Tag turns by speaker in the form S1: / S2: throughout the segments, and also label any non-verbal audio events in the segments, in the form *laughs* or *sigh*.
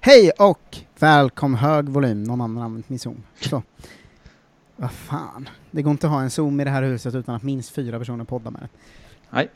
S1: Hej och välkommen, hög volym, någon annan har använt min zoom. Så. Vad fan, det går inte att ha en zoom i det här huset utan att minst fyra personer poddar med den.
S2: Nej.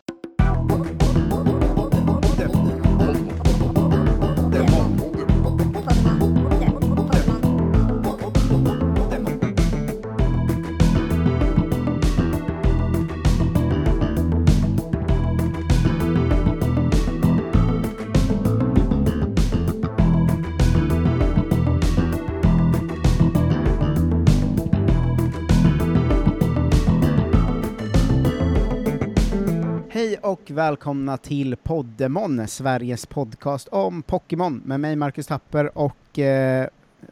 S1: Hej och välkomna till Poddemon, Sveriges podcast om Pokémon med mig Marcus Tapper och eh,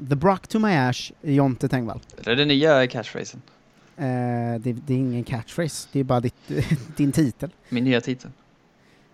S1: The Brock to my Ash, Jonte Tengvall.
S2: Det är den nya catchphrasen.
S1: Eh, det, det är ingen catchphrase, det är bara ditt, *laughs* din titel.
S2: Min nya titel.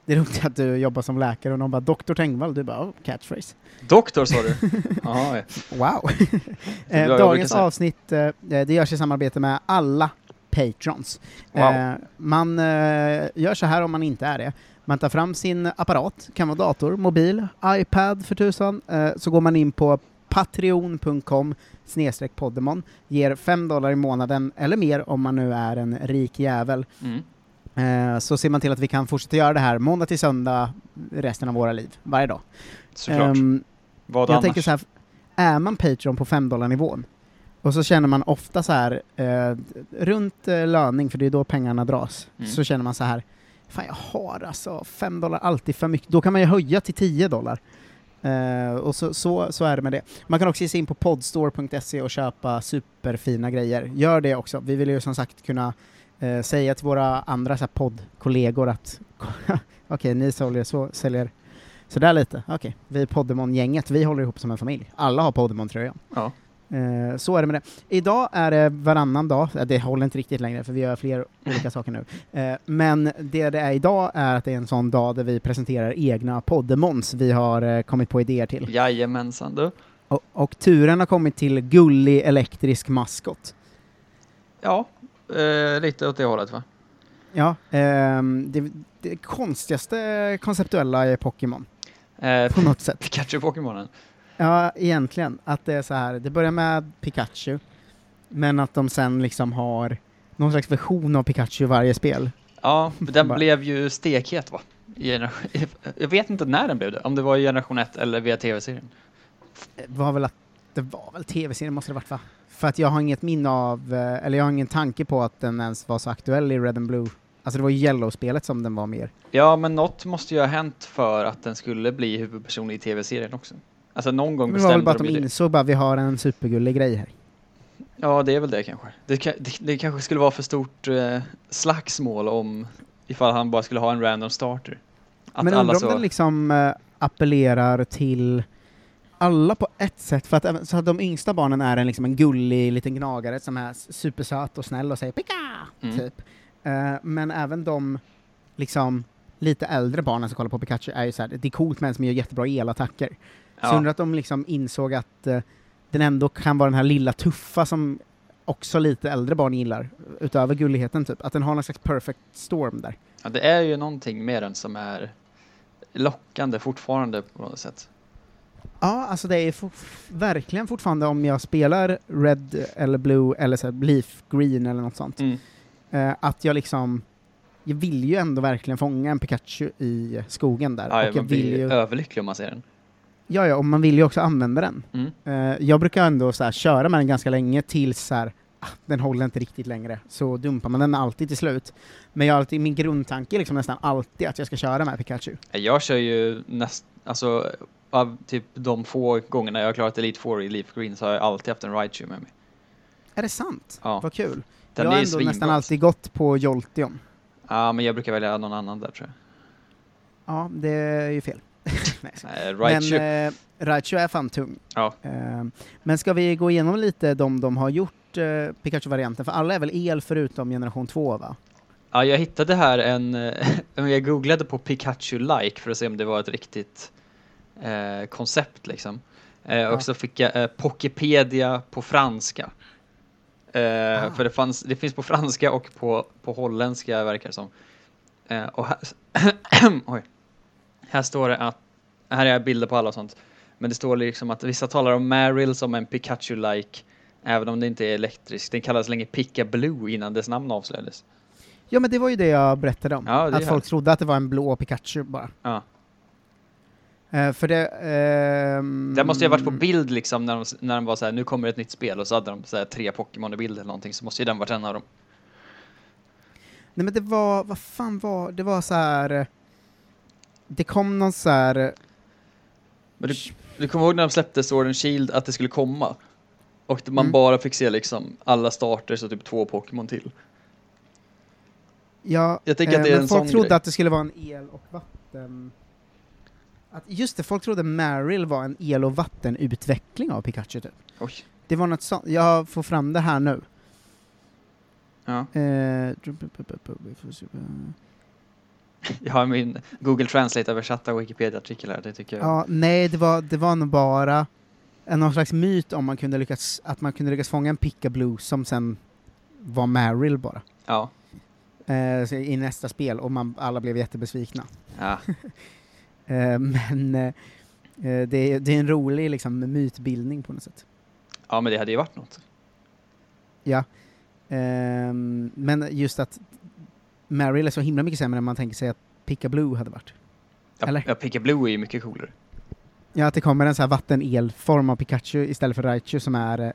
S1: Det är roligt att du jobbar som läkare och någon bara Dr. Tengvall, du bara oh, catchphrase.
S2: Doktor sa *laughs* du? Jaha, ja.
S1: Wow! *laughs*
S2: bra, Mm. jag
S1: eh,
S2: brukar
S1: dagens
S2: säga.
S1: avsnitt, eh, det görs i samarbete med alla patrons.
S2: Wow.
S1: Eh, man eh, gör så här om man inte är det. Man tar fram sin apparat, kan vara dator, mobil, iPad för tusan, eh, så går man in på patreon.com snedstreck poddemon, ger 5 dollar i månaden eller mer om man nu är en rik jävel.
S2: Mm.
S1: Eh, så ser man till att vi kan fortsätta göra det här måndag till söndag resten av våra liv, varje dag.
S2: Såklart.
S1: Ehm,
S2: Vad
S1: jag
S2: annars?
S1: tänker så här, är man Patreon på 5 dollar nivån och så känner man ofta så här, eh, runt eh, löning, för det är då pengarna dras,
S2: Mm.
S1: så känner man så här, fan jag har alltså 5 dollar alltid för mycket, då kan man ju höja till 10 dollar. Eh, och så, så, så är det med det. Man kan också ge sig in på podstore.se och köpa superfina grejer. Gör det också. Vi vill ju som sagt kunna eh, säga till våra andra så här, poddkollegor att *laughs* okej, ni säljer så, säljer så där lite. Okej, vi är Poddemon-gänget, vi håller ihop som en familj. Alla har Poddemon-tröjan.
S2: Ja.
S1: Eh, så är det med det. Idag är det varannan dag, Eh, det håller inte riktigt längre för vi gör fler olika saker nu. Eh, men det det är idag är att det är en sån dag där vi presenterar egna Poddemons vi har eh, kommit på idéer till.
S2: Jajamensan du.
S1: Och, och turen har kommit till gullig elektrisk maskot.
S2: Ja, eh, lite åt det hållet va?
S1: Ja, ehm, det, det konstigaste konceptuella är Pokémon,
S2: Eh,
S1: på
S2: *laughs*
S1: något sätt.
S2: Pikachu-Pokémonen.
S1: Ja, egentligen. Att det är så här, det börjar med Pikachu, men att de sen liksom har någon slags version av Pikachu i varje spel.
S2: Ja, den
S1: Bara-
S2: blev ju stekhet va? I generation- *laughs* Jag vet inte när den blev det, om det var i generation 1 eller via tv-serien.
S1: Det eh, var väl att, det var väl tv-serien måste det varit va? För att jag har inget minne av, eh, eller jag har ingen tanke på att den ens var så aktuell i Red and Blue. Alltså det var ju Yellow-spelet som den var mer.
S2: Ja, men något måste ju ha hänt för att den skulle bli huvudperson i tv-serien också. Alltså någon gång
S1: Men det var väl bara
S2: bestämde
S1: att de
S2: de ju det.
S1: insåg bara, vi har en supergullig grej här.
S2: Ja, det är väl det kanske. Det, ka- det, det kanske skulle vara för stort eh, slagsmål om ifall han bara skulle ha en random starter. Att
S1: men
S2: alla
S1: undrar om
S2: så...
S1: den liksom eh, appellerar till alla på ett sätt, för att, även- så att de yngsta barnen är en, liksom en gullig liten gnagare som är s- supersöt och snäll och säger ”pika”
S2: Mm.
S1: typ. Eh, men även de liksom lite äldre barnen som kollar på Pikachu är ju såhär, det är coolt med en som gör jättebra elattacker.
S2: ja.
S1: Så undrar att de liksom insåg att eh, den ändå kan vara den här lilla tuffa som också lite äldre barn gillar, utöver gulligheten typ. Att den har någon slags perfect storm där.
S2: ja, det är ju någonting med den som är lockande fortfarande på något sätt.
S1: Ja, alltså det är for- verkligen fortfarande om jag spelar Red eller Blue eller så här Leaf Green eller något sånt,
S2: Mm.
S1: eh, att jag liksom jag vill ju ändå verkligen fånga en Pikachu i skogen där.
S2: Ja,
S1: och jag
S2: man
S1: vill
S2: blir
S1: ju,
S2: överlycklig om man ser den.
S1: ja, ja, och man vill ju också använda den.
S2: Mm.
S1: Eh, jag brukar ändå så här, köra med den ganska länge tills så här, ah, den håller inte riktigt längre, så dumpar man den alltid till slut. Men jag har alltid, min grundtanke är liksom nästan alltid att jag ska köra med Pikachu.
S2: Jag kör ju näst, alltså av typ de få gångerna jag har klarat Elite Four i Leaf Green så har jag alltid haft en Raichu med mig.
S1: Är det sant?
S2: Ja.
S1: Vad kul.
S2: Den
S1: jag
S2: är
S1: har
S2: ju
S1: ändå nästan
S2: svinbra.
S1: alltid gått på Jolteon.
S2: Ja, men jag brukar välja någon annan där tror jag.
S1: Ja, det är ju fel. Nej, jag skojar.
S2: Nej, Raichu.
S1: Men eh, Raichu är fan tung.
S2: Ja.
S1: Eh, men ska vi gå igenom lite de de har gjort, eh, Pikachu-varianten? För alla är väl el förutom generation 2 va?
S2: Ja, jag hittade här en, *laughs* eh, jag googlade på Pikachu like för att se om det var ett riktigt eh, koncept liksom. Eh,
S1: Ja.
S2: Och så fick jag eh, Pokipedia på franska. Eh,
S1: Ah.
S2: För det, fanns, det finns på franska och på, på holländska verkar det som. *clears throat* Eh, och här, oj. här står det att, här är bilder på alla och sånt. Men det står liksom att vissa talar om Meryl som en Pikachu-like, även om det inte är elektrisk. Den kallades länge Pika Blue innan dess namn avslöjades.
S1: Ja men det var ju det jag berättade om,
S2: Ja, det är
S1: att folk
S2: härligt.
S1: trodde att det var en blå Pikachu bara.
S2: Ja.
S1: Eh, för det... ehm,
S2: Där måste jag ha varit på bild liksom när de, när de var så här, nu kommer ett nytt spel och så hade de så här tre Pokémon i bild eller någonting så måste ju den varit en av dem.
S1: Nej men det var, vad fan var, det var så här. eh, Det kom någon så här. eh,
S2: Men du, du kommer ihåg när de släppte Sword and Shield att det skulle komma? Och man
S1: Mm.
S2: bara fick se liksom alla starters och typ två Pokémon till.
S1: Ja, eh,
S2: Jag tänker att det
S1: men
S2: är en
S1: folk
S2: sån
S1: trodde
S2: grej.
S1: att det skulle vara en el och vatten... Att, just det, folk trodde Meryl var en el och vattenutveckling av Pikachu typ.
S2: Oj.
S1: Det var något sånt, jag får fram det här nu.
S2: Ja.
S1: Eh, dru- bu- bu- bu- bu- vi får se.
S2: Jag har min Google Translate översatta Wikipedia-artikel här, det tycker jag.
S1: Ja, nej, det var, det var nog bara en någon slags myt om man kunde lyckas, att man kunde lyckas fånga en Pika Blue som sen var Meryl bara.
S2: Ja.
S1: Eh, så I nästa spel, och man, alla blev jättebesvikna.
S2: ja.
S1: Eh, men eh, eh, det, är- det är en rolig liksom, mytbildning på något sätt.
S2: Ja, men det hade ju varit något.
S1: Ehm, men just att Meryl är så himla mycket sämre än man tänker sig att Pika Blue hade varit.
S2: Ja,
S1: Eller?
S2: ja Pika Blue är ju mycket coolare.
S1: Ja, att det kommer en så här vattenelform av Pikachu istället för Raichu som är eh,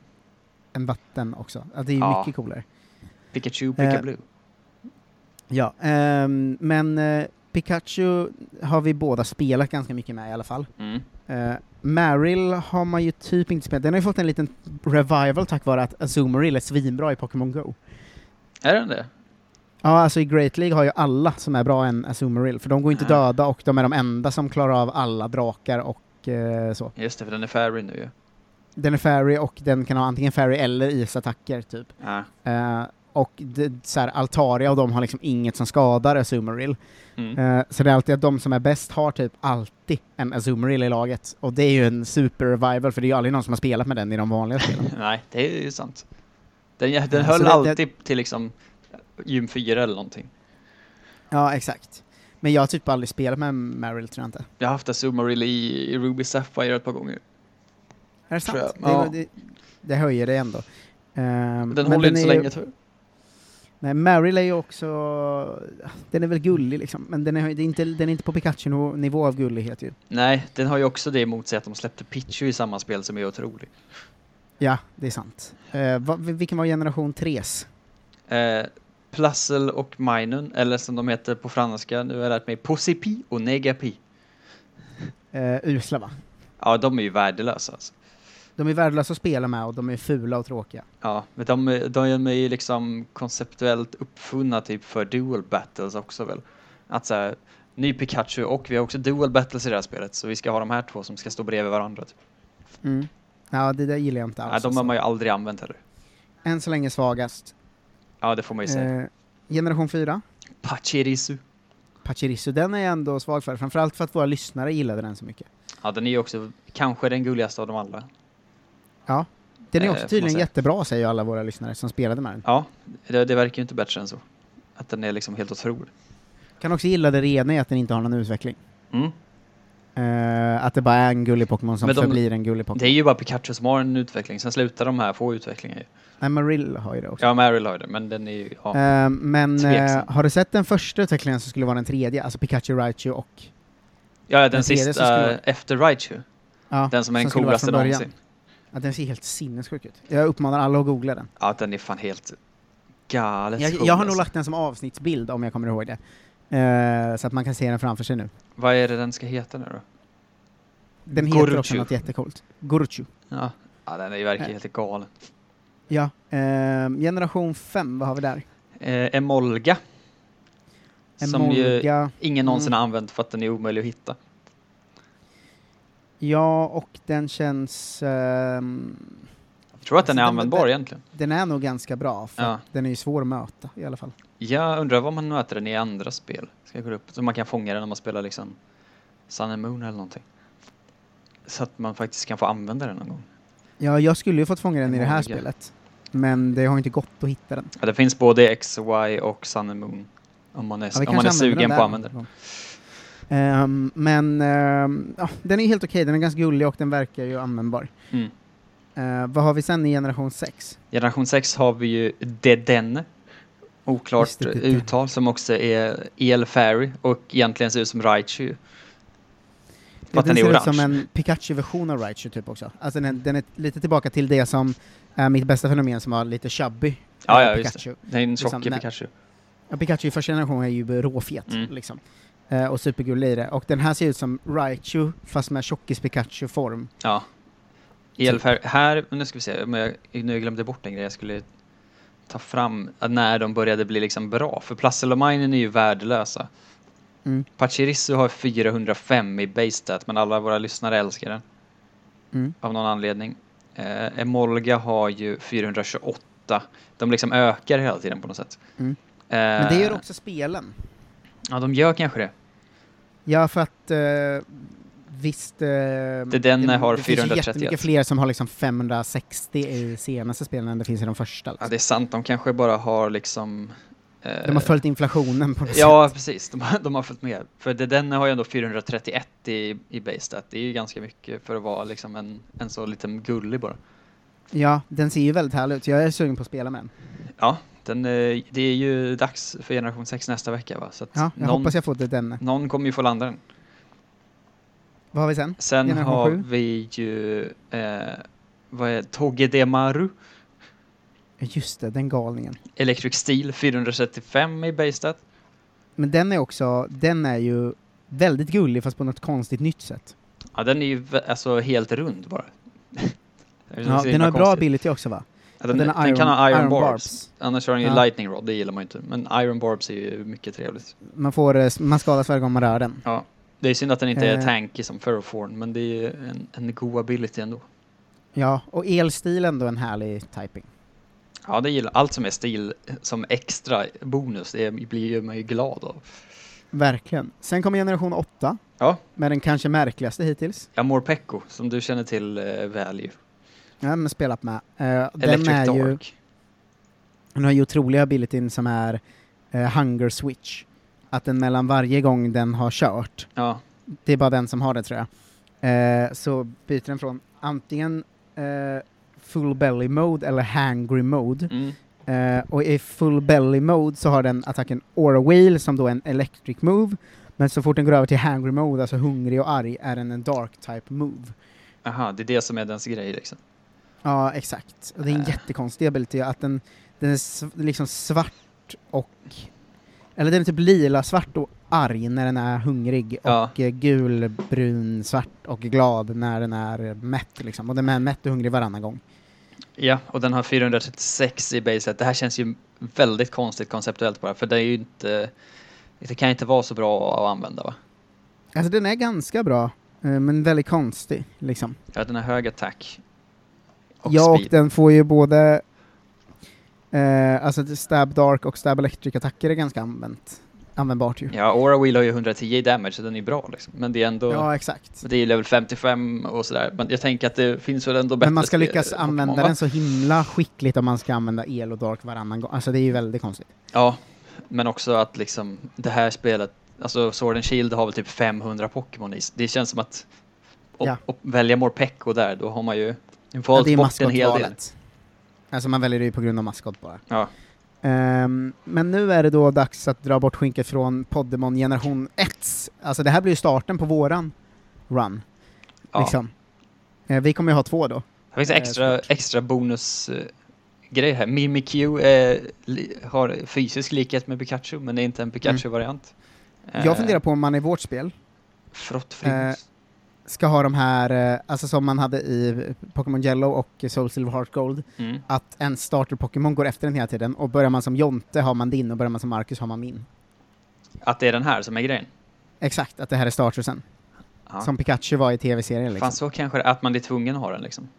S1: en vatten också. Ja, det är ju
S2: Ja.
S1: mycket coolare.
S2: Pikachu, Pika
S1: Eh.
S2: Blue.
S1: Ja, ehm, men eh, Pikachu har vi båda spelat ganska mycket med i alla fall.
S2: Mm.
S1: Eh, Meryl har man ju typ inte spelat. Den har ju fått en liten revival tack vare att Azumarill är svinbra i Pokémon Go.
S2: Är den det?
S1: Ja, alltså i Great League har ju alla som är bra en Azumarill, för de går inte
S2: Ah.
S1: döda och de är de enda som klarar av alla drakar och eh, så.
S2: Just det, för den är fairy nu ju.
S1: Den är fairy och den kan ha antingen fairy eller isattacker, typ.
S2: Ja.
S1: Eh, och det, så här, Altaria och de har liksom inget som skadar Azumarill.
S2: Mm.
S1: Eh, så det är alltid att de som är bäst har typ alltid en Azumarill i laget. Och det är ju en super-revival, för det är ju aldrig någon som har spelat med den i de vanliga spelen.
S2: *laughs* Nej, det är ju sant. Den, den
S1: Ja, så
S2: höll
S1: det- det-
S2: alltid till liksom gym 4 eller någonting.
S1: Ja, exakt. Men jag har typ aldrig spelat med Meryl, tror jag inte.
S2: Jag har haft Azumarill i, i Ruby Sapphire ett par gånger.
S1: Är det sant?
S2: Tror jag.
S1: Det,
S2: Ja.
S1: det, det höjer det ändå. Ehm,
S2: Den
S1: men
S2: håller inte
S1: är
S2: så
S1: ju-
S2: länge tror jag.
S1: Nej, Meryl är ju också... Den är väl gullig liksom, men den är, det är inte, den är inte på Pikachu-nivå av gullighet ju.
S2: Nej, den har ju också det emot sig att de släppte Pichu i samma spel som är otrolig.
S1: Ja, det är sant. Eh, va, vilken var generation 3s?
S2: Eh, Plassel och Minun, eller som de heter på franska, nu har jag lärt mig Posipi och Negapi.
S1: Eh, usla va?
S2: Ja, de är ju värdelösa alltså.
S1: De är värdelösa att spela med och de är fula och tråkiga.
S2: Ja, men de, de är ju liksom konceptuellt uppfunna typ för dual battles också väl? Att så här, ny Pikachu och vi har också dual battles i det här spelet, så vi ska ha de här två som ska stå bredvid varandra. Typ.
S1: Ja, det där gillar jag inte alls.
S2: Nej, de har
S1: alltså.
S2: man ju aldrig använt heller.
S1: Än så länge svagast.
S2: Ja, det får man ju säga.
S1: Eh, generation 4,
S2: Pachirisu.
S1: Pachirisu, den är jag ändå svag för. Framförallt för att våra lyssnare gillade den så mycket.
S2: Ja, den är ju också kanske den gulligaste av dem alla.
S1: Den är
S2: Eh,
S1: också
S2: får man
S1: tydligen
S2: säga.
S1: jättebra, säger alla våra lyssnare som spelade med den.
S2: Ja, det, det verkar ju inte bättre än så. Att den är liksom helt otrolig.
S1: Kan också gilla det rena i att den inte har någon utveckling.
S2: Mm.
S1: Eh, att det bara är en gullig Pokémon som
S2: Men de-
S1: förblir en gullig
S2: Det
S1: Pokémon.
S2: är ju bara Pikachu som har en utveckling, sen slutar de här få utvecklingar ju.
S1: Nej, Marill har ju det också.
S2: Ja, Meryl har ju det, men den är ju... Ja.
S1: Eh, men eh,
S2: Tveksam.
S1: har du sett den första utvecklingen som skulle vara den tredje? Alltså Pikachu, Raichu och...
S2: Ja, den,
S1: den tredje som
S2: sista
S1: skulle-
S2: efter Raichu.
S1: Ja,
S2: Den som är den
S1: skulle vara
S2: coolaste
S1: från början.
S2: någonsin.
S1: Ja, den ser helt sinnessjuk ut. Jag uppmanar alla att googla den.
S2: Ja, den är fan helt galet
S1: Jag,
S2: cool,
S1: jag har nog
S2: alltså.
S1: lagt den som avsnittsbild om jag kommer ihåg det. Eh, så att man kan se den framför sig nu.
S2: Vad är det den ska heta nu då?
S1: Den heter också
S2: Goruchu.
S1: något jättecoolt. Goruchu.
S2: Ja, ja den är ju verkligen
S1: Eh.
S2: helt galen.
S1: Ja. Eh, generation 5, vad har vi där?
S2: Eh, Emolga. Som ju
S1: Emolga.
S2: ingen någonsin har använt för att den är omöjlig att hitta.
S1: Ja, och den känns... ehm,
S2: Jag tror att
S1: Alltså,
S2: den är
S1: den-
S2: användbar
S1: den-
S2: egentligen.
S1: Den är nog ganska bra, för
S2: Ja.
S1: att den är ju svår att möta i alla fall.
S2: Jag undrar vad man möter den i andra spel. Ska jag gå upp? Så man kan fånga den om man spelar liksom Sun and Moon eller någonting. Så att man faktiskt kan få använda den någon gång.
S1: Ja, jag skulle ju fått fånga den i det här
S2: Omega.
S1: spelet, men det har inte gått att hitta den.
S2: Ja, det finns både XY och Sun and Moon. Om man är,
S1: Ja, vi
S2: om man
S1: kanske
S2: är
S1: använder den
S2: sugen på att använda den.
S1: där. Ehm, men ehm, ja, den är helt okej, den är ganska gullig och den verkar ju användbar.
S2: Mm.
S1: Eh, vad har vi sen i generation 6?
S2: Generation 6 har vi ju Deden. Oklart
S1: Just det, Deden.
S2: uttal som också är El Fairy och egentligen ser ut som Raichu. För att den är
S1: ser ut
S2: orange.
S1: som en Pikachu-version av Raichu typ också. Alltså den, den är lite tillbaka till det som är mitt bästa fenomen som var lite chubby.
S2: Ja,
S1: eh,
S2: ja, just
S1: Pikachu.
S2: Det är en
S1: Liksom,
S2: tjock
S1: nej.
S2: Pikachu.
S1: Ja, Pikachu i första generationen är ju råfet
S2: Mm.
S1: liksom. Eh, och supergullig i det. Och den här ser ut som Raichu fast med tjockis-Pikachu-form.
S2: Ja. Elfär, här, nu ska vi se, men jag, nu glömde jag bort en grej jag skulle ta fram att när de började bli liksom bra. För Plasselominen är ju värdelösa.
S1: Mm.
S2: Pachirisu har 405 i base stat, men alla våra lyssnare älskar den
S1: Mm.
S2: av någon anledning. Eh, Emolga har ju 428. De liksom ökar hela tiden på något sätt.
S1: Mm.
S2: Eh,
S1: Men det gör också spelen.
S2: Ja, de gör kanske det.
S1: Ja, för att eh, visst... eh,
S2: den har
S1: Det finns ju
S2: 431.
S1: jättemycket fler som har liksom 560 i senaste spelen än det finns i de första.
S2: Ja,
S1: Liksom.
S2: det är sant. De kanske bara har liksom... eh,
S1: De har följt inflationen på något
S2: Ja,
S1: sätt.
S2: precis. De, har- de har följt med. För det- den har ju ändå 431 i, i base stat. Det är ju ganska mycket för att vara liksom en, en så liten gullig bara.
S1: Ja, den ser ju väldigt härlig ut. Jag är sugen på att spela med den.
S2: Ja, den, eh, det är ju dags för generation 6 nästa vecka va? Så att
S1: Ja, jag
S2: någon,
S1: hoppas jag får det den.
S2: någon kommer ju få landa den.
S1: Vad har vi sen?
S2: Sen
S1: Generation
S2: har
S1: sju.
S2: vi ju... Eh, vad är Togedemaru?
S1: Just det, den galningen.
S2: Electric Steel 435 i base stat.
S1: Men den är också, den är ju väldigt gullig fast på något konstigt nytt sätt.
S2: Ja, den är ju vä- alltså helt rund bara. *laughs* Det är så
S1: Ja,
S2: himla
S1: den har bra
S2: konstigt.
S1: ability också va?
S2: Ja, den,
S1: Den
S2: den,
S1: har iron-
S2: kan ha iron,
S1: iron
S2: barbs.
S1: barbs.
S2: Annars har den ju
S1: Ja.
S2: lightning rod, det gillar man ju inte. Men iron barbs är ju mycket trevligt.
S1: Man, får, eh, man skadas varje gång man rör den.
S2: Ja. Det är synd att den inte är
S1: Eh.
S2: tanky som ferroform, men det är ju en, en god ability ändå.
S1: Ja, och elstilen då en härlig typing.
S2: Ja, det gillar Allt som är stil som extra bonus, det blir ju man ju glad av.
S1: Verkligen. Sen kommer generation 8
S2: Ja,
S1: med den kanske märkligaste hittills.
S2: Amor Pecco, som du känner till eh, väl ju.
S1: Jag har även spelat med. Eh, Den
S2: Electric
S1: är ju,
S2: Dark.
S1: den har ju otroliga abilityn som är eh, hunger switch. Att den mellan varje gång den har kört
S2: Ja,
S1: Det är bara den som har det tror jag. Eh, så byter den från antingen eh, full belly mode eller hangry mode.
S2: mm.
S1: Eh, och i full belly mode så har den attacken aura wheel som då är en electric move. Men så fort den går över till hangry mode, alltså hungrig och arg, är den en dark type move.
S2: Aha, det är det som är dens grej liksom.
S1: Ja, exakt. Och det är en
S2: Äh.
S1: jättekonstig ability att den, den är sv- liksom svart och... Eller den är typ lila, svart och arg när den är hungrig
S2: Ja.
S1: och eh, gul, brun, svart och glad när den är mätt liksom. Och den är mätt och hungrig varannan gång.
S2: Ja, och den har 436 i baselet. Det här känns ju väldigt konstigt konceptuellt bara, för det är ju inte... Det kan inte vara så bra att använda va?
S1: Alltså den är ganska bra, eh, men väldigt konstig liksom.
S2: Ja, den har hög attack. Och
S1: ja, och
S2: speed.
S1: den får ju både... Eh, alltså stab dark och stab electric attacker är ganska använt, användbart ju.
S2: Ja, Aura Wheel har ju 110 i damage, så den är bra liksom. Men det är ändå...
S1: ja exakt.
S2: Det är ju level 55 och sådär. Men jag tänker att det finns väl ändå bättre
S1: Men man ska
S2: spel-
S1: lyckas
S2: Pokémon,
S1: använda
S2: va?
S1: den så himla skickligt om man ska använda el och dark varannan gång. Alltså det är ju väldigt konstigt.
S2: Ja, men också att liksom det här spelet... Alltså Sword and Shield har väl typ 500 Pokémon i. Det känns som att... Och,
S1: Ja.
S2: och välja Morpeko där, då har man ju
S1: Ja,
S2: valt
S1: det är
S2: bort en hel del.
S1: maskotvalet. Alltså man väljer det ju på grund av maskot bara.
S2: Ja.
S1: Ehm, men nu är det då dags att dra bort skynket från Poddemon generation 1. Alltså det här blir ju starten på våran run.
S2: Ja.
S1: Liksom. Eh, vi kommer ju ha två då.
S2: Det finns en
S1: Eh,
S2: extra,
S1: svårt.
S2: extra bonus eh, grej här. Mimikyu eh, li, har fysisk likhet med Pikachu men det är inte en Pikachu-variant.
S1: Mm.
S2: Eh,
S1: Jag funderar på om man i vårt spel eh,
S2: Frottfrins.
S1: ska ha de här, eh, alltså som man hade i Pokémon Yellow och Soul Silver Heart Gold,
S2: mm.
S1: att en starter-Pokémon går efter den hela tiden och börjar man som Jonte har man din och börjar man som Marcus har man min.
S2: Att det är den här som är grejen.
S1: Exakt, att det här är startersen.
S2: Ja.
S1: Som Pikachu var i tv-serien liksom.
S2: Fan, så kanske det är, att man blir tvungen att ha den liksom.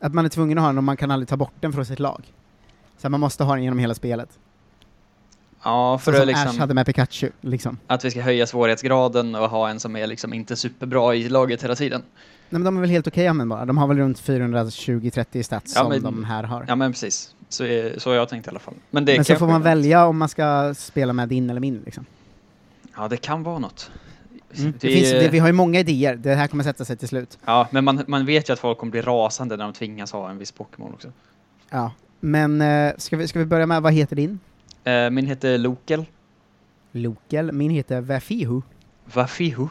S1: Att man är tvungen att ha den och man kan aldrig ta bort den från sitt lag. Så man måste ha den genom hela spelet.
S2: Ja, för
S1: så
S2: att,
S1: som Ash
S2: liksom,
S1: hade med Pikachu, liksom.
S2: att vi ska höja svårighetsgraden och ha en som är liksom inte superbra i laget hela tiden.
S1: Nej men de är väl helt okej användbara? De har väl runt 420-30 stats
S2: Ja,
S1: som
S2: men-
S1: de här har.
S2: Ja, men precis. Så, är, så har jag tänkt i alla fall. Men, det
S1: men så
S2: kanske-
S1: får man välja om man ska spela med din eller min liksom.
S2: Ja, det kan vara något.
S1: Mm. Det finns, det, vi har ju många idéer, det här kommer sätta sig till slut.
S2: Ja, men man, man vet ju att folk kommer bli rasande när de tvingas ha en viss Pokémon också.
S1: Ja. Men eh, ska, vi, ska vi börja med, vad heter din?
S2: Eh, min heter Lokel.
S1: Lokel. Min heter Vafihu.
S2: Vafihu.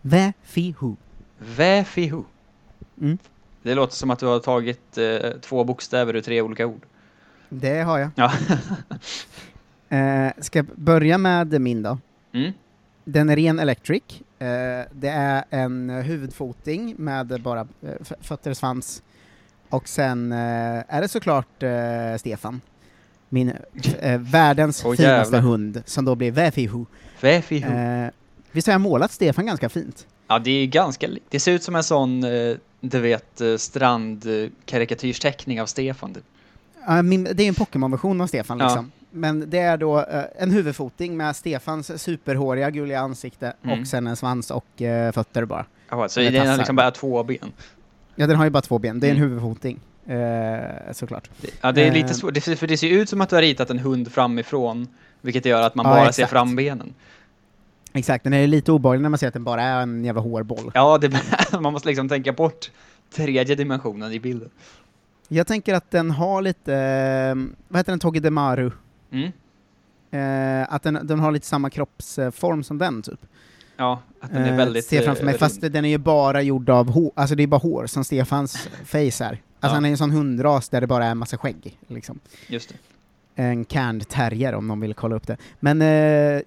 S1: Vafihu.
S2: Väfihu.
S1: Mm.
S2: Det låter som att du har tagit eh, två bokstäver ur tre olika ord.
S1: Det har jag.
S2: Ja. *laughs*
S1: Eh, ska jag börja med min då?
S2: Mm.
S1: Den är ren electric. Eh, det är en eh, huvudfoting med bara eh, f- fötter och svans. Och sen eh, är det såklart eh, Stefan. Min, eh, världens
S2: Åh,
S1: finaste
S2: jävlar.
S1: hund, som då blir Väfihu.
S2: Väfihu.
S1: Eh, visst har jag målat Stefan ganska fint?
S2: Ja, det är ganska likt. Det ser ut som en sån, eh, du vet, eh, strandkarikatyrsteckning av Stefan. Typ.
S1: Ja, min, det är ju en Pokémon-version av Stefan
S2: Ja.
S1: liksom. Men det är då eh, en huvudfoting med Stefans superhåriga gulliga ansikte
S2: Mm.
S1: och sen en svans och eh, fötter bara.
S2: Ja, så
S1: Eller
S2: den har
S1: tassar.
S2: liksom bara två ben.
S1: Ja, den har ju bara två ben. Det är en
S2: Mm.
S1: huvudfoting, eh, såklart.
S2: Ja, det är
S1: Eh.
S2: lite svårt, det, ser- för det ser ut som att du har ritat en hund framifrån, vilket gör att man
S1: Ja,
S2: bara ser
S1: exakt.
S2: frambenen.
S1: Exakt, den är ju lite obehaglig när man ser att den bara är en jävla hårboll.
S2: Ja, det, *laughs* man måste liksom tänka bort tredje dimensionen i bilden.
S1: Jag tänker att den har lite, eh, vad heter den, Togedemaru?
S2: Mm.
S1: Eh, att den, den har lite samma kroppsform som den, typ.
S2: Ja, att den är
S1: Eh,
S2: väldigt...
S1: ser jag framför
S2: eh,
S1: mig,
S2: rund.
S1: fast den är ju bara gjord av hår, alltså det är bara hår, som Stefans face är. Alltså
S2: Ja.
S1: han är ju en sån hundras där det bara är en massa skägg, liksom.
S2: Just det.
S1: en canned terrier om någon vill kolla upp det. Men eh,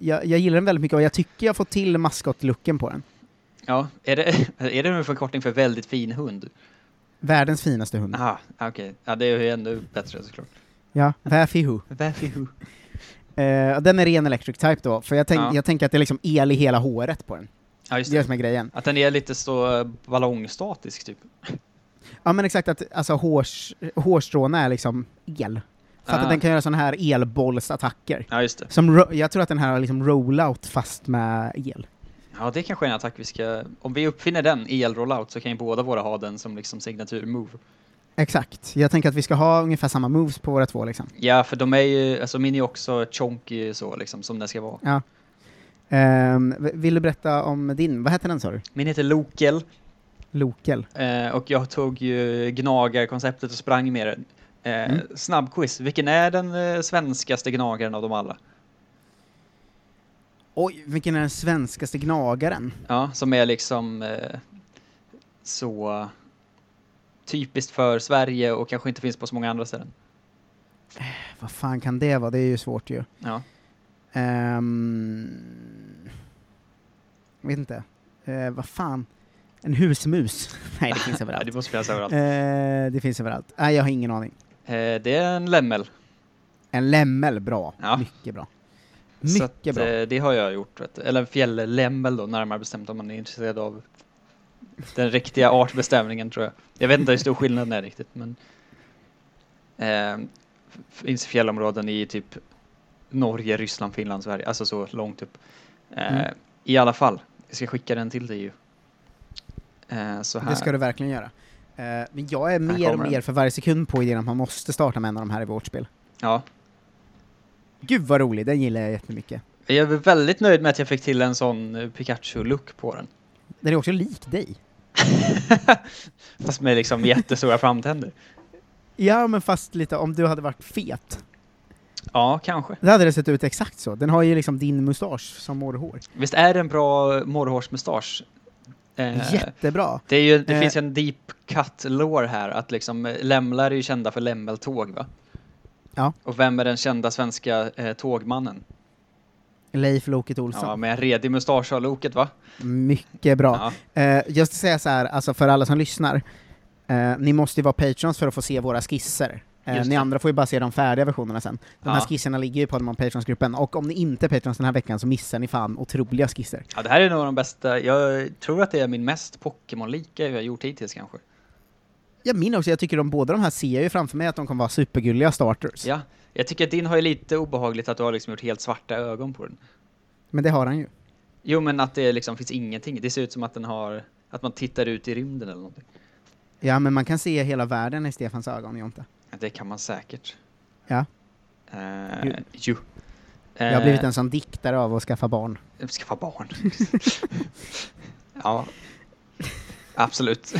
S1: jag, jag gillar den väldigt mycket och jag tycker jag får till maskotlooken på den.
S2: Ja, är det, *laughs* är det en förkortning för väldigt fin hund?
S1: Världens finaste hund.
S2: Aha, okej. Ja, det är ju ännu bättre såklart.
S1: Ja, Vafihu.
S2: Väfihu.
S1: Eh, och den är ren electric type då, för jag, tänk,
S2: Ja.
S1: jag tänker att det är liksom el i hela håret på den.
S2: Ja, just
S1: Det är det
S2: det.
S1: som är grejen.
S2: Att den är lite så eh, ballongstatisk typ.
S1: Ja men exakt, att alltså, hårs, hårstråna är liksom el. För
S2: Ah.
S1: att den kan göra sådana här elbollsattacker.
S2: Ja, just det.
S1: Som ro- jag tror att den här har liksom rollout fast med el.
S2: Ja, det kanske är en attack vi ska... Om vi uppfinner den, el-rollout, så kan ju båda våra ha den som liksom signatur-move.
S1: Exakt. Jag tänker att vi ska ha ungefär samma moves på våra två liksom.
S2: Ja, för de är ju... Alltså min är också chonky så liksom, som den ska vara.
S1: Ja. Ehm, v- vill du berätta om din, vad heter den sa du?
S2: Min heter Lokel.
S1: Lokel.
S2: Eh, och jag tog ju gnagarkonceptet och sprang med den. Eh,
S1: Mm.
S2: Snabbquiz. Vilken är den eh, svenskaste gnagaren av dem alla?
S1: Oj, vilken är den svenskaste gnagaren?
S2: Ja, som är liksom eh, så typiskt för Sverige och kanske inte finns på så många andra ställen.
S1: Vad fan kan det vara? Det är ju svårt ju.
S2: Ja.
S1: Ehm, jag vet inte. Eh, vad fan? En husmus? *laughs* Nej, det finns
S2: *laughs* Ja,
S1: överallt.
S2: det måste finnas överallt. Eh,
S1: Eh, det finns överallt. Nej, jag har ingen aning.
S2: det är en lämmel.
S1: En lämmel, bra.
S2: Ja.
S1: Mycket bra.
S2: Så att,
S1: Mycket bra.
S2: eh, det har jag gjort. Vet du. Eller en fjällämmel då, närmare bestämt om man är intresserad av den riktiga artbestämningen tror jag. Jag vet inte hur stor skillnaden är riktigt, men eh, finns fjällområden i typ Norge, Ryssland, Finland, Sverige, alltså så långt upp. Eh,
S1: Mm.
S2: I alla fall, jag ska skicka den till dig ju. Eh, så här.
S1: Det ska du verkligen göra. Eh, men jag är mer och
S2: kommer den.
S1: mer för varje sekund på idén att man måste starta med en av de här i vårt spel.
S2: Ja.
S1: Gud vad rolig, den gillar jag jättemycket.
S2: Jag är väldigt nöjd med att jag fick till en sån eh, Pikachu-look på den. *laughs*
S1: Den är också lik dig.
S2: Fast med liksom jättestora framtänder.
S1: Ja, men fast lite om du hade varit fet.
S2: Ja, kanske.
S1: Då hade det sett ut exakt så. Den har ju liksom din mustasch som morrhår.
S2: Visst är det en bra morrhårsmustasch? Eh,
S1: Jättebra!
S2: det är ju, det
S1: Eh.
S2: finns ju en deep cut lore här, att liksom eh, lämlar är ju kända för lämmeltåg va?
S1: Ja.
S2: Och vem är den kända svenska eh, tågmannen?
S1: Leif Loket Olsson.
S2: Ja, med en redig mustasch har loket va?
S1: Mycket bra. Eh, jag ska säga så här, alltså för alla som lyssnar, eh, ni måste ju vara patrons för att få se våra skisser. Eh,
S2: Just
S1: ni
S2: det.
S1: andra får ju bara se de färdiga versionerna sen. De här
S2: Ja.
S1: skisserna ligger ju på Admon Patrons-gruppen, och om ni inte är patrons den här veckan så missar ni fan otroliga skisser.
S2: Ja, det här är nog de bästa, jag tror att det är min mest Pokémon-lika jag har gjort hittills kanske.
S1: Jag minns också, jag tycker de båda de här ser jag ju framför mig att de kommer vara supergulliga starters.
S2: Ja, jag tycker att din har ju lite obehagligt att du har liksom gjort helt svarta ögon på den.
S1: Men det har han ju.
S2: Jo, men att det liksom finns ingenting. Det ser ut som att den har, att man tittar ut i rymden eller någonting.
S1: Ja, men man kan se hela världen i Stefans ögon, Jonte.
S2: Ja, Det kan man säkert.
S1: Ja.
S2: Eh,
S1: Ju.
S2: ju.
S1: Jag har blivit en sån diktare av att skaffa barn.
S2: Eh, Skaffa barn. *laughs* ja. Absolut.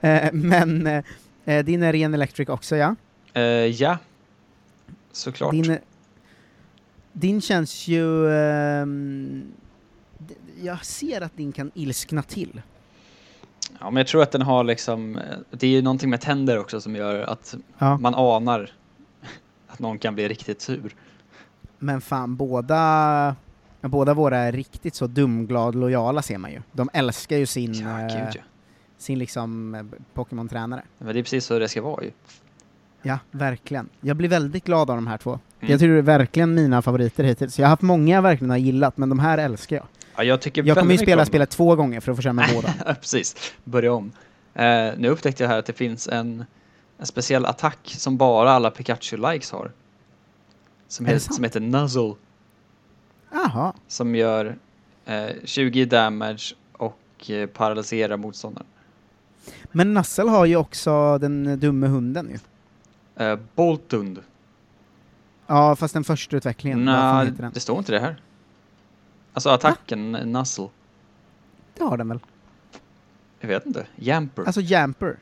S1: Eh, men eh, eh, din är ren electric också ja?
S2: Eh, ja. Såklart.
S1: Din, eh, din känns ju... ehm, d- jag ser att din kan ilskna till.
S2: Ja, men jag tror att den har liksom... eh, Det är ju någonting med tänder också som gör att
S1: Ja.
S2: man anar att någon kan bli riktigt sur.
S1: Men fan, båda, båda våra är riktigt så dumglad lojala ser man ju. De älskar ju sin,
S2: Ja,
S1: eh,
S2: gud ja.
S1: sin liksom eh, Pokémon-tränare.
S2: Men det är precis så det ska vara ju.
S1: Ja, verkligen. Jag blir väldigt glad av de här två.
S2: Mm.
S1: Jag tror det är verkligen mina favoriter hittills. Jag har haft många jag verkligen har gillat, men de här älskar jag.
S2: Ja, jag tycker
S1: Jag kommer ju
S2: väldigt mycket
S1: spela
S2: om
S1: spelet två gånger för att få känna
S2: *laughs*
S1: båda.
S2: Ja, precis. Börja om. Eh, nu upptäckte jag här att det finns en, en speciell attack som bara alla Pikachu-likes har. Som,
S1: Är det
S2: he-
S1: sant?
S2: som heter Nuzzle.
S1: Jaha,
S2: Som gör eh, 20 damage och eh, paralyserar motståndaren.
S1: men Nassel har ju också den dumme hunden ju.
S2: Eh, Boltund.
S1: Ja, fast den första utvecklingen. vad fan
S2: Nej,
S1: heter den?
S2: det står inte det här. Alltså attacken, Nuzzle.
S1: Det har den väl?
S2: Jag vet inte. Jamper.
S1: Alltså Jamper.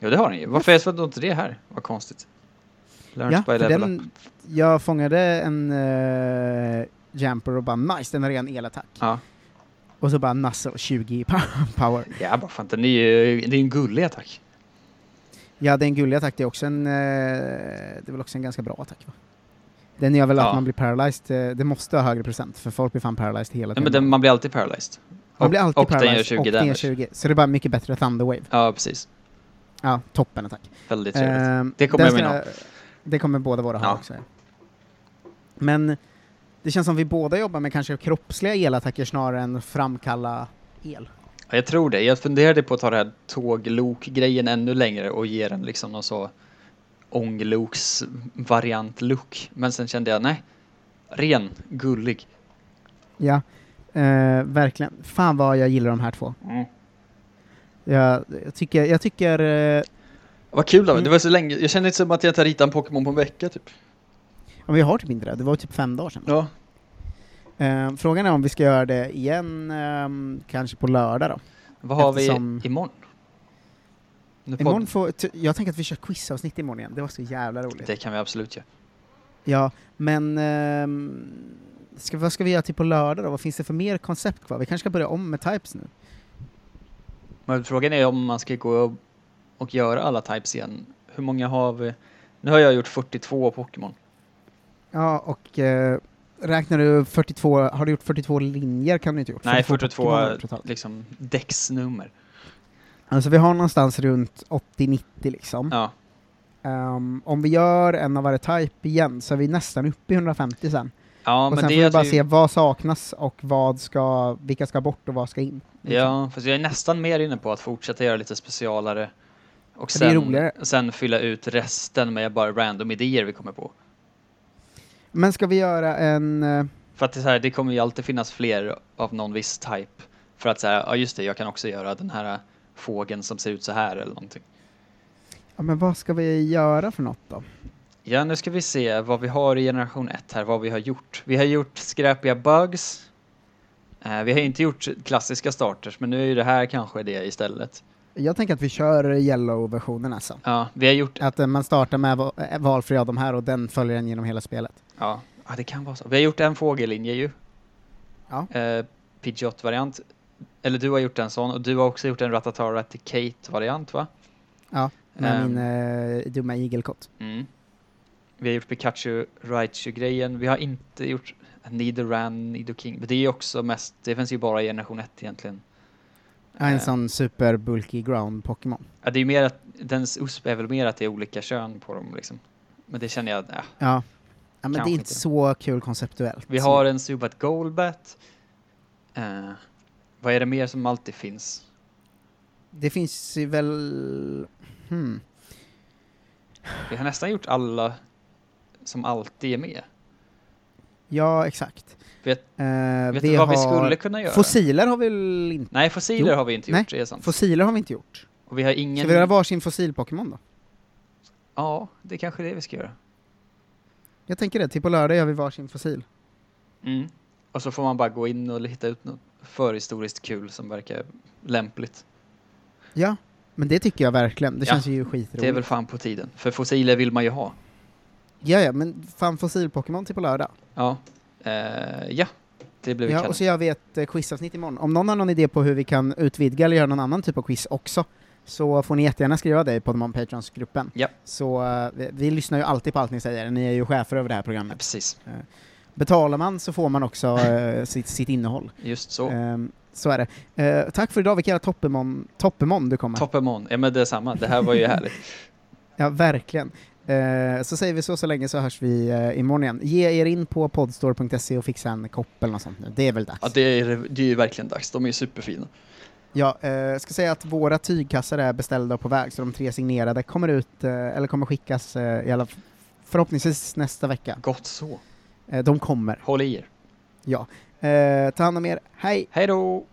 S2: jo, det har den ju. Varför är det inte det här? Vad konstigt. Learns
S1: Ja,
S2: by
S1: för
S2: level up.
S1: den, jag fångade en eh, Jamper och bara nice, den har ren elattack.
S2: Ja.
S1: Och så bara Nassel 20 i *laughs* pow- power.
S2: Ja, vad fan, den är ju, det är en gullig attack.
S1: Ja, den gulliga attack, det är också en... eh, det är väl också en ganska bra attack, va? Den gör väl
S2: Ja.
S1: att man blir paralyzed, eh, det måste ha högre procent, för folk blir fan paralyzed hela
S2: Nej,
S1: tiden.
S2: men den, man blir alltid paralyzed.
S1: man blir alltid
S2: och den gör
S1: paralyzed
S2: 20
S1: och den gör
S2: damage.
S1: 20 Så det är bara mycket bättre Thunderwave.
S2: Ja, precis.
S1: Ja, toppen attack.
S2: Väldigt trevligt.
S1: Ehm,
S2: Det kommer
S1: den
S2: jag
S1: ska-
S2: mina
S1: Det kommer båda våra ha
S2: Ja.
S1: också. ja. Men det känns som vi båda jobbar med kanske kroppsliga elattacker snarare än framkalla el.
S2: Ja, jag tror det. Jag funderade på att ta det här tåglok-grejen ännu längre och ge den liksom någon så ångloks variant look Men sen kände jag, nej. Ren, gullig.
S1: Ja, eh, verkligen. Fan vad jag gillar de här två.
S2: Mm.
S1: Jag, jag tycker, jag tycker eh,
S2: Vad kul av
S1: Mm.
S2: det var så länge. Jag kände inte som att jag inte ritat en Pokémon på en vecka typ.
S1: om vi har typ inte det, det var ju typ fem dagar sedan.
S2: Ja.
S1: Eh, frågan är om vi ska göra det igen, ehm, kanske på lördag då.
S2: Vad har
S1: Eftersom-
S2: vi imorgon? Nu podd-
S1: Imorgon får, ty- jag tänker att vi kör quizavsnitt imorgon igen, det var så jävla roligt.
S2: Det kan vi absolut göra.
S1: Ja, men ehm, ska, vad ska vi göra till på lördag då? Vad finns det för mer koncept kvar? Vi kanske ska börja om med types nu?
S2: Men frågan är om man ska gå och, och göra alla types igen. Hur många har vi? Nu har jag gjort 42 Pokémon.
S1: Ja, och eh, räknar du 42, har du gjort 42 linjer kan du inte ha gjort?
S2: Nej,
S1: Pokémon har
S2: 42
S1: du gjort totalt.
S2: liksom däcksnummer.
S1: Mm. Alltså vi har någonstans runt 80-90 liksom.
S2: Ja,
S1: Ehm, om vi gör en av varje type igen så är vi nästan uppe i 150 sen.
S2: ja
S1: och
S2: men
S1: sen
S2: det
S1: får
S2: är
S1: vi bara
S2: att
S1: se vad saknas och vad ska, vilka ska bort och vad ska in.
S2: Ja, fast jag är nästan mer inne på att fortsätta göra lite specialare. Och
S1: Ja, det är
S2: sen,
S1: roligare.
S2: sen fylla ut resten med bara random idéer vi kommer på.
S1: Men ska vi göra en... eh,
S2: För att det, är så här, det kommer ju alltid finnas fler av någon viss type. För att så här, ja just det, jag kan också göra den här fågeln som ser ut så här eller någonting.
S1: ja, men vad ska vi göra för något då?
S2: Ja, nu ska vi se vad vi har i generation 1 här, vad vi har gjort. Vi har gjort skräpiga bugs. Eh, vi har inte gjort klassiska starters, men nu är ju det här kanske det istället.
S1: Jag tänker att vi kör yellow-versionen alltså.
S2: Ja, vi har gjort...
S1: Att eh, man startar med va- eh, valfri av de här och den följer en genom hela spelet.
S2: Ja, ja, det kan vara så. Vi har gjort en fågellinje ju.
S1: Ja.
S2: Eh, Pidgeot-variant. Eller du har gjort en sån och du har också gjort en Ratatara-Raticate-variant va?
S1: Ja, med
S2: Ehm.
S1: min eh, dumma igelkott.
S2: Mm. Vi har gjort Pikachu Raichu-grejen. Vi har inte gjort Nidoran, Nidoking. Men det är ju också mest, det finns ju bara i generation 1 egentligen.
S1: Ja, en
S2: Eh.
S1: sån super bulky ground Pokémon.
S2: Ja, det är ju mer att, dens USP är väl mer att det är olika kön på dem liksom. Men det känner jag, äh.
S1: Ja. ja men
S2: Kanske
S1: det är inte
S2: inte.
S1: så kul konceptuellt.
S2: Vi har en Zubat Golbat. Eh, vad är det mer som alltid finns?
S1: Det finns ju väl... Hmm.
S2: Vi har nästan gjort alla som alltid är med.
S1: Ja, exakt.
S2: Vet-
S1: Eh,
S2: Vet
S1: vi
S2: du vad vi
S1: har-
S2: skulle kunna göra?
S1: Fossiler har vi väl inte?
S2: Nej, fossiler
S1: Jo.
S2: har vi inte
S1: Nej.
S2: gjort, det är sant.
S1: Fossiler har vi inte gjort.
S2: Och vi har
S1: Ska
S2: ingen...
S1: vi göra varsin fossil-Pokémon då?
S2: Ja, det är kanske är det vi ska göra.
S1: typ Jag tänker det, till på lördag gör vi varsin fossil.
S2: Mm. Och så får man bara gå in och hitta ut något förhistoriskt kul som verkar lämpligt.
S1: Ja, men det tycker jag verkligen. Det
S2: Ja,
S1: känns ju skitroligt.
S2: Det är väl fan på tiden, för fossiler vill man ju ha.
S1: Ja, ja, men fan fossil-Pokémon till på lördag.
S2: Ja, eh, ja. det blev vi
S1: Ja,
S2: kallade.
S1: och så gör vi ett eh, quizavsnitt imorgon. Om någon har någon idé på hur vi kan utvidga eller göra någon annan typ av quiz också, så får ni jättegärna skriva det på Podmon Patrons-gruppen.
S2: Ja.
S1: Så eh, vi, vi lyssnar ju alltid på allt ni säger, ni är ju chefer över det här
S2: Ja,
S1: programmet.
S2: precis,
S1: Betalar man så får man också
S2: *laughs*
S1: eh, sitt, sitt innehåll.
S2: just så.
S1: Ehm, så är det. Eh, tack för idag, vilka jävla toppemon, toppemon du kommer.
S2: Toppemon, ja men det är samma. Det här var ju härligt.
S1: Ja, verkligen. Eh, så säger vi så så länge så hörs vi eh, imorgon igen. Ge er in på podstore.se och fixa en kopp eller något sånt nu. Det är väl dags.
S2: Ja, det är, det är ju verkligen dags. De är ju superfina.
S1: Ja, eh, ska säga att våra tygkassar är beställda och på väg, så de tre signerade kommer ut, eh, eller kommer skickas eh, i alla f- förhoppningsvis nästa vecka.
S2: Gott så.
S1: Eh, de kommer,
S2: Håll i er.
S1: ja. Eh, ta hand om er, hej!
S2: Hej då!